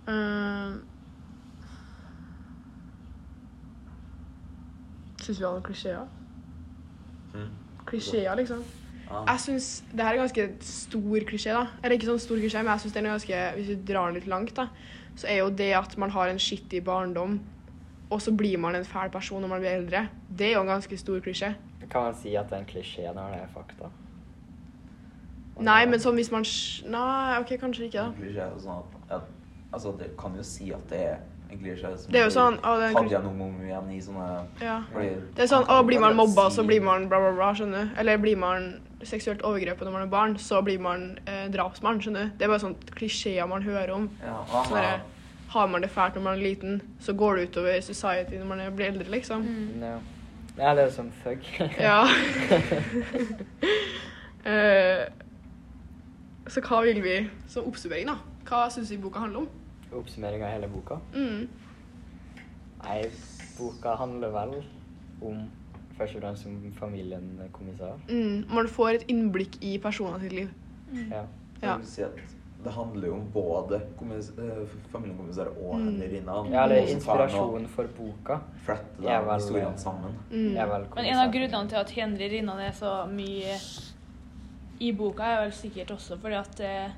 Speaker 2: Uh, Syns vi har noen klisjeer?
Speaker 4: Mm.
Speaker 2: Klisjeer, liksom.
Speaker 4: Ja.
Speaker 2: Jeg synes, Det her er ganske stor klisjé, da. Eller ikke sånn stor klisjé, men jeg synes den er ganske, hvis vi drar den litt langt, da, så er jo det at man har en skittig barndom, og så blir man en fæl person når man blir eldre, det er jo en ganske stor klisjé.
Speaker 3: Kan man si at det er en klisjé når det er fakta?
Speaker 2: Nei, men sånn hvis man sj- Nei, OK, kanskje ikke, da.
Speaker 4: Klisjé er jo sånn at, at Altså, det kan jo si at det er en klisjé som
Speaker 2: Det er jo sånn, å, det er en
Speaker 4: tatt
Speaker 2: klisjé.
Speaker 4: gjennom og om igjen i sånne
Speaker 2: Ja.
Speaker 4: fordi-
Speaker 2: Det er sånn,
Speaker 4: han
Speaker 2: å,
Speaker 4: kan
Speaker 2: blir
Speaker 4: jo
Speaker 2: man
Speaker 4: bare
Speaker 2: mobba,
Speaker 4: si-
Speaker 2: så blir man bla, bla, bla, skjønner du? Eller blir man seksuelt overgrepet når man er barn, så blir man eh, drapsmann, skjønner du? Det er bare sånn klisjeer man hører om.
Speaker 4: Ja, og han
Speaker 2: Sånn
Speaker 4: er-
Speaker 2: derre, Har man det fælt når man er liten, så går det utover society når man er- blir eldre, liksom.
Speaker 3: Mm, Ja. ja, det er jo som thug.
Speaker 2: Ja. Eh, så hva vil vi som oppsummering, da? Hva syns vi boka handler om?
Speaker 3: Oppsummering av hele boka.
Speaker 2: Mm.
Speaker 3: Nei, boka handler vel om først og fremst om familien Kommissar.
Speaker 2: Mm. Man får et innblikk i personene sitt liv.
Speaker 1: Mm.
Speaker 3: Ja.
Speaker 2: Ja.
Speaker 4: Jeg vil si at det handler jo om både kommis- eh, familiekommissær og
Speaker 2: Mm.
Speaker 4: henrinna.
Speaker 3: ja, eller inspirasjonen for boka
Speaker 4: Flette de
Speaker 3: Jeg er vel-
Speaker 4: historiene sammen.
Speaker 2: Mm.
Speaker 3: er vel
Speaker 1: Men en av grunnene til at Henry Rinnan er så mye i boka, er vel sikkert også fordi at eh,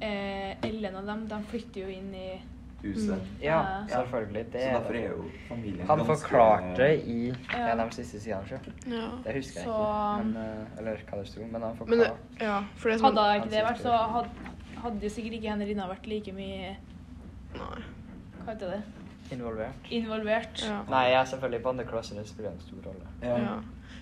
Speaker 1: eh, Ellen og dem de flytter jo inn i
Speaker 4: Huset.
Speaker 3: Ja, selvfølgelig. Det
Speaker 4: Så
Speaker 3: er
Speaker 4: derfor
Speaker 3: det.
Speaker 4: er jo familien
Speaker 3: Han
Speaker 4: ganske-
Speaker 3: forklarte i
Speaker 1: Ja.
Speaker 3: en av de siste sidene, sjø.
Speaker 2: Ja.
Speaker 3: Det husker jeg
Speaker 1: Så-
Speaker 3: ikke. Men, eh, eller hva det sto, men han
Speaker 2: Men det,
Speaker 3: forklarte
Speaker 2: ja, for det er sånn
Speaker 1: Hadde ikke det vært, så hadde, hadde jo sikkert ikke Henry Rinnan vært like mye
Speaker 2: Nei.
Speaker 1: Hva heter det?
Speaker 3: involvert.
Speaker 1: Involvert.
Speaker 2: Ja.
Speaker 3: Nei, jeg er selvfølgelig på andre klasse, det spiller en stor rolle.
Speaker 2: Ja.
Speaker 4: Ja.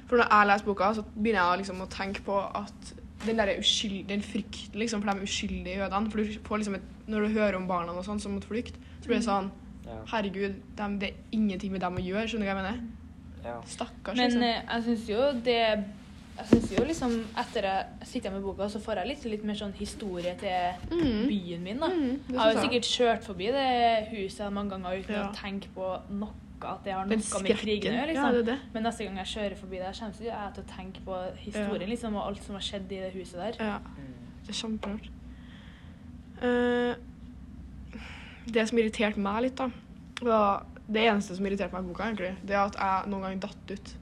Speaker 2: For når jeg leser boka, så begynner jeg liksom å tenke på at den der uskyld, den frykten liksom, for de uskyldige jødene For du får liksom et, Når du hører om barna og sånn som måtte flykte, så blir det sånn
Speaker 3: Ja.
Speaker 2: Herregud, dem- det er ingenting med dem å gjøre. Skjønner du hva jeg mener?
Speaker 3: Ja.
Speaker 2: Stakkars.
Speaker 1: Men
Speaker 2: liksom.
Speaker 1: eh, jeg syns jo det Jeg synes jo liksom Etter jeg sitter med boka, så får jeg litt, litt mer sånn historie til
Speaker 2: Mm.
Speaker 1: byen min, da.
Speaker 2: Mm, det
Speaker 1: jeg har jo
Speaker 2: synes jeg.
Speaker 1: sikkert kjørt forbi det huset mange ganger uten
Speaker 2: Ja.
Speaker 1: å tenke på noe at det har
Speaker 2: Den
Speaker 1: noe med krigen å
Speaker 2: skrekken.
Speaker 1: gjøre.
Speaker 2: Ja,
Speaker 1: Liksom.
Speaker 2: det er det.
Speaker 1: Men neste gang jeg kjører forbi der, kommer jeg ikke til å tenke på historien liksom, og alt som har skjedd i det huset der.
Speaker 2: Ja. Det er kjemperart. Eh, det som irriterte meg litt, da, var det eneste som irriterte meg i boka, egentlig, det er at jeg noen gang datt ut.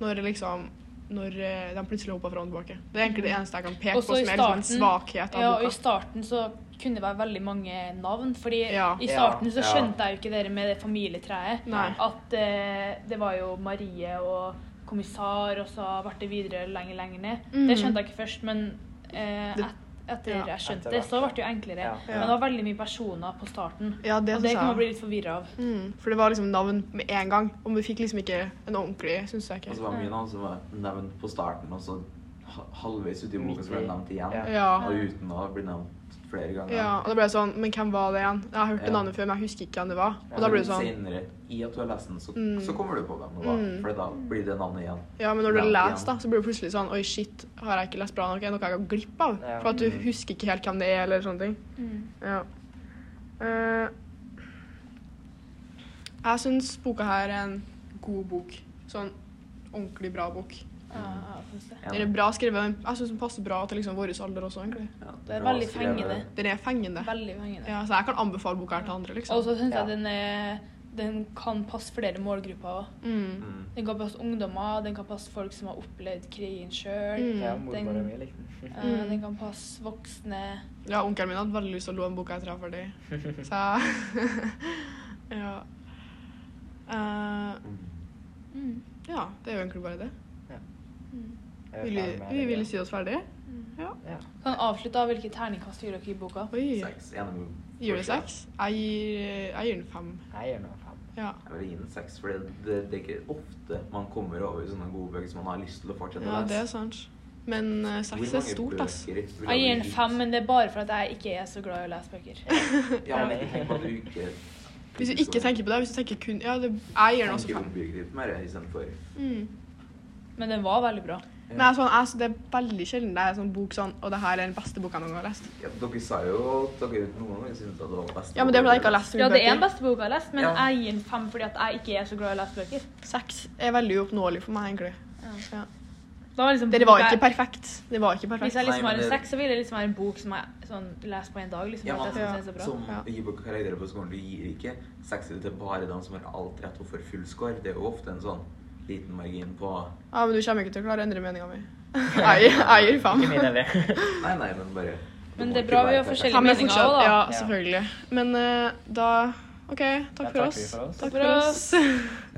Speaker 2: Når liksom når eh, de plutselig hoppa fram og tilbake. Det er egentlig det eneste jeg kan peke
Speaker 1: Og så
Speaker 2: på
Speaker 1: Mm. i
Speaker 2: som er liksom en
Speaker 1: starten-
Speaker 2: svakhet av
Speaker 1: Ja, og I
Speaker 2: boka.
Speaker 1: starten så kunne det være veldig mange navn. fordi
Speaker 2: Ja.
Speaker 1: i starten så
Speaker 4: Ja.
Speaker 1: skjønte jeg jo ikke det med det familietreet.
Speaker 2: Nei.
Speaker 1: At eh, det var jo Marie og kommissar, og så ble det videre lenger lenger ned. Det skjønte jeg ikke først, men eh,
Speaker 2: Det-
Speaker 1: et, etter
Speaker 2: ja,
Speaker 1: jeg skjønte
Speaker 3: etter
Speaker 1: det,
Speaker 3: hvert,
Speaker 1: så ble det jo enklere.
Speaker 3: Ja.
Speaker 1: Men det var veldig mye personer på starten.
Speaker 2: Ja, det
Speaker 1: og det
Speaker 2: synes jeg
Speaker 1: kan man
Speaker 2: også.
Speaker 1: bli litt forvirra av.
Speaker 2: Mm, for det var liksom navn med en gang, og vi fikk liksom ikke en ordentlig, syns jeg
Speaker 4: Og så
Speaker 2: ikke.
Speaker 4: var det mye navn som var nevnt på starten, og så ha- halvveis uti boka så ble det nevnt igjen.
Speaker 3: Ja.
Speaker 2: Ja.
Speaker 4: Og uten å bli nevnt flere ganger.
Speaker 2: ja. Og da ble det sånn Men hvem var det igjen? Jeg har hørt det
Speaker 4: Ja. Altså,
Speaker 2: navnet før, men jeg husker ikke hvem det var. Og da ble det sånn
Speaker 4: Senere, i at du har lest den, så,
Speaker 2: Mm.
Speaker 4: så kommer du på hvem det var.
Speaker 2: Mm.
Speaker 4: For da blir det navnet igjen.
Speaker 2: Ja, men når du
Speaker 4: Ja,
Speaker 2: leser,
Speaker 4: ja.
Speaker 2: da, så blir det plutselig sånn Oi, shit, har jeg ikke lest bra nok? Er det noe jeg går glipp av?
Speaker 3: Ja.
Speaker 2: For at du
Speaker 4: Mm.
Speaker 2: husker ikke helt hvem det er, eller sånne ting. Ja. Eh, jeg syns boka her er en god bok. Sånn ordentlig bra bok.
Speaker 1: Ja, jeg synes det.
Speaker 4: Ja.
Speaker 2: Den er bra skrevet. og en- Jeg syns den passer bra til liksom vår alder også, egentlig.
Speaker 4: Ja,
Speaker 1: Det er
Speaker 4: bra
Speaker 1: veldig
Speaker 4: skrevet.
Speaker 1: fengende.
Speaker 2: Den er fengende.
Speaker 1: Veldig fengende.
Speaker 2: Ja, så jeg kan anbefale boka her til andre, liksom.
Speaker 1: Og så syns jeg
Speaker 4: Ja.
Speaker 1: den, er, den kan passe flere målgrupper òg.
Speaker 2: Mm.
Speaker 4: Mm.
Speaker 1: Den kan passe ungdommer, den kan passe folk som har opplevd krigen sjøl.
Speaker 2: Mm.
Speaker 3: Ja,
Speaker 1: Den-
Speaker 3: mormora mi likte den.
Speaker 2: Mm.
Speaker 1: Den kan passe voksne.
Speaker 2: Ja, onkelen min hadde veldig lyst til å låne boka etter jeg var ferdig. Så jeg- ja. Eh,
Speaker 1: Mm.
Speaker 2: ja, det er jo egentlig bare det.
Speaker 1: Mm.
Speaker 3: Jeg er
Speaker 2: Vil
Speaker 3: ferdig
Speaker 2: vi,
Speaker 3: med
Speaker 2: vi
Speaker 3: det.
Speaker 2: vil si oss ferdig. Ja.
Speaker 3: Ja.
Speaker 1: Kan avslutte av hvilke terningkast gir dere i boka?
Speaker 2: Oi.
Speaker 4: Seks. gjennom-
Speaker 2: Gir du seks? Jeg gir, jeg gir den fem.
Speaker 3: Jeg gir nå fem.
Speaker 2: Ja.
Speaker 4: Jeg vil gi den seks, for det, det, det er ikke ofte man kommer over sånne gode bøker som man har lyst til å fortsette å
Speaker 2: ja, det er
Speaker 4: lese.
Speaker 2: sant. Men eh, seks er stort, ass.
Speaker 1: Jeg gir den fem, men det er bare for at jeg ikke er så glad i å lese bøker.
Speaker 4: Ja, men tenk på at du ikke
Speaker 2: Hvis du ikke tenker på det, hvis du tenker kun Ja, det, jeg gir den også fem.
Speaker 4: mer istedenfor
Speaker 2: Mm.
Speaker 1: Men den var veldig bra.
Speaker 4: Ja.
Speaker 2: Nei, sånn, jeg, det er veldig sjelden det er sånn bok sånn Og det her er den beste boka jeg noen gang har lest.
Speaker 4: ja, Dere sa jo at dere noen ganger syntes at det var best.
Speaker 2: Ja, men det er fordi jeg ikke har lest så mye
Speaker 1: Ja, det er
Speaker 2: bøker.
Speaker 1: den beste boka jeg har lest, men
Speaker 4: Ja.
Speaker 1: jeg gir den fem fordi at jeg ikke er så glad i å lese bøker.
Speaker 2: Seks er veldig uoppnåelig for meg, egentlig.
Speaker 1: Mm.
Speaker 2: Ja.
Speaker 1: Da var liksom
Speaker 2: Dere var
Speaker 1: boka-
Speaker 2: ikke perfekt. Det var ikke
Speaker 1: Hvis
Speaker 2: perfekt.
Speaker 1: jeg liksom
Speaker 4: Nei,
Speaker 1: har
Speaker 4: men
Speaker 1: en
Speaker 4: det-
Speaker 1: seks, så vil jeg liksom ha en bok som jeg sånn, leser på en dag. liksom,
Speaker 4: Ja,
Speaker 1: at jeg
Speaker 4: men-
Speaker 1: synes den er så bra.
Speaker 4: Som
Speaker 2: Ja.
Speaker 4: gir bøker karakterer på skolen, du gir ikke sekser til bare dem som har alt rett og for full score. Det er jo ofte en sånn liten margin på
Speaker 2: Ja, men du kommer ikke til å klare å endre meninga mi. Jeg jeg gir fem.
Speaker 3: Ikke min heller.
Speaker 4: Nei, nei, men bare
Speaker 1: Men
Speaker 4: må
Speaker 1: det er
Speaker 4: ikke
Speaker 1: bra vi
Speaker 4: være
Speaker 1: har
Speaker 4: perfekt.
Speaker 1: forskjellige
Speaker 2: Fem er
Speaker 1: meninger
Speaker 2: fortsatt
Speaker 1: også, da.
Speaker 2: Ja, selvfølgelig. Men eh, da OK, takk
Speaker 3: Da
Speaker 2: for
Speaker 3: takker
Speaker 2: oss.
Speaker 3: vi for oss.
Speaker 2: Takk for oss.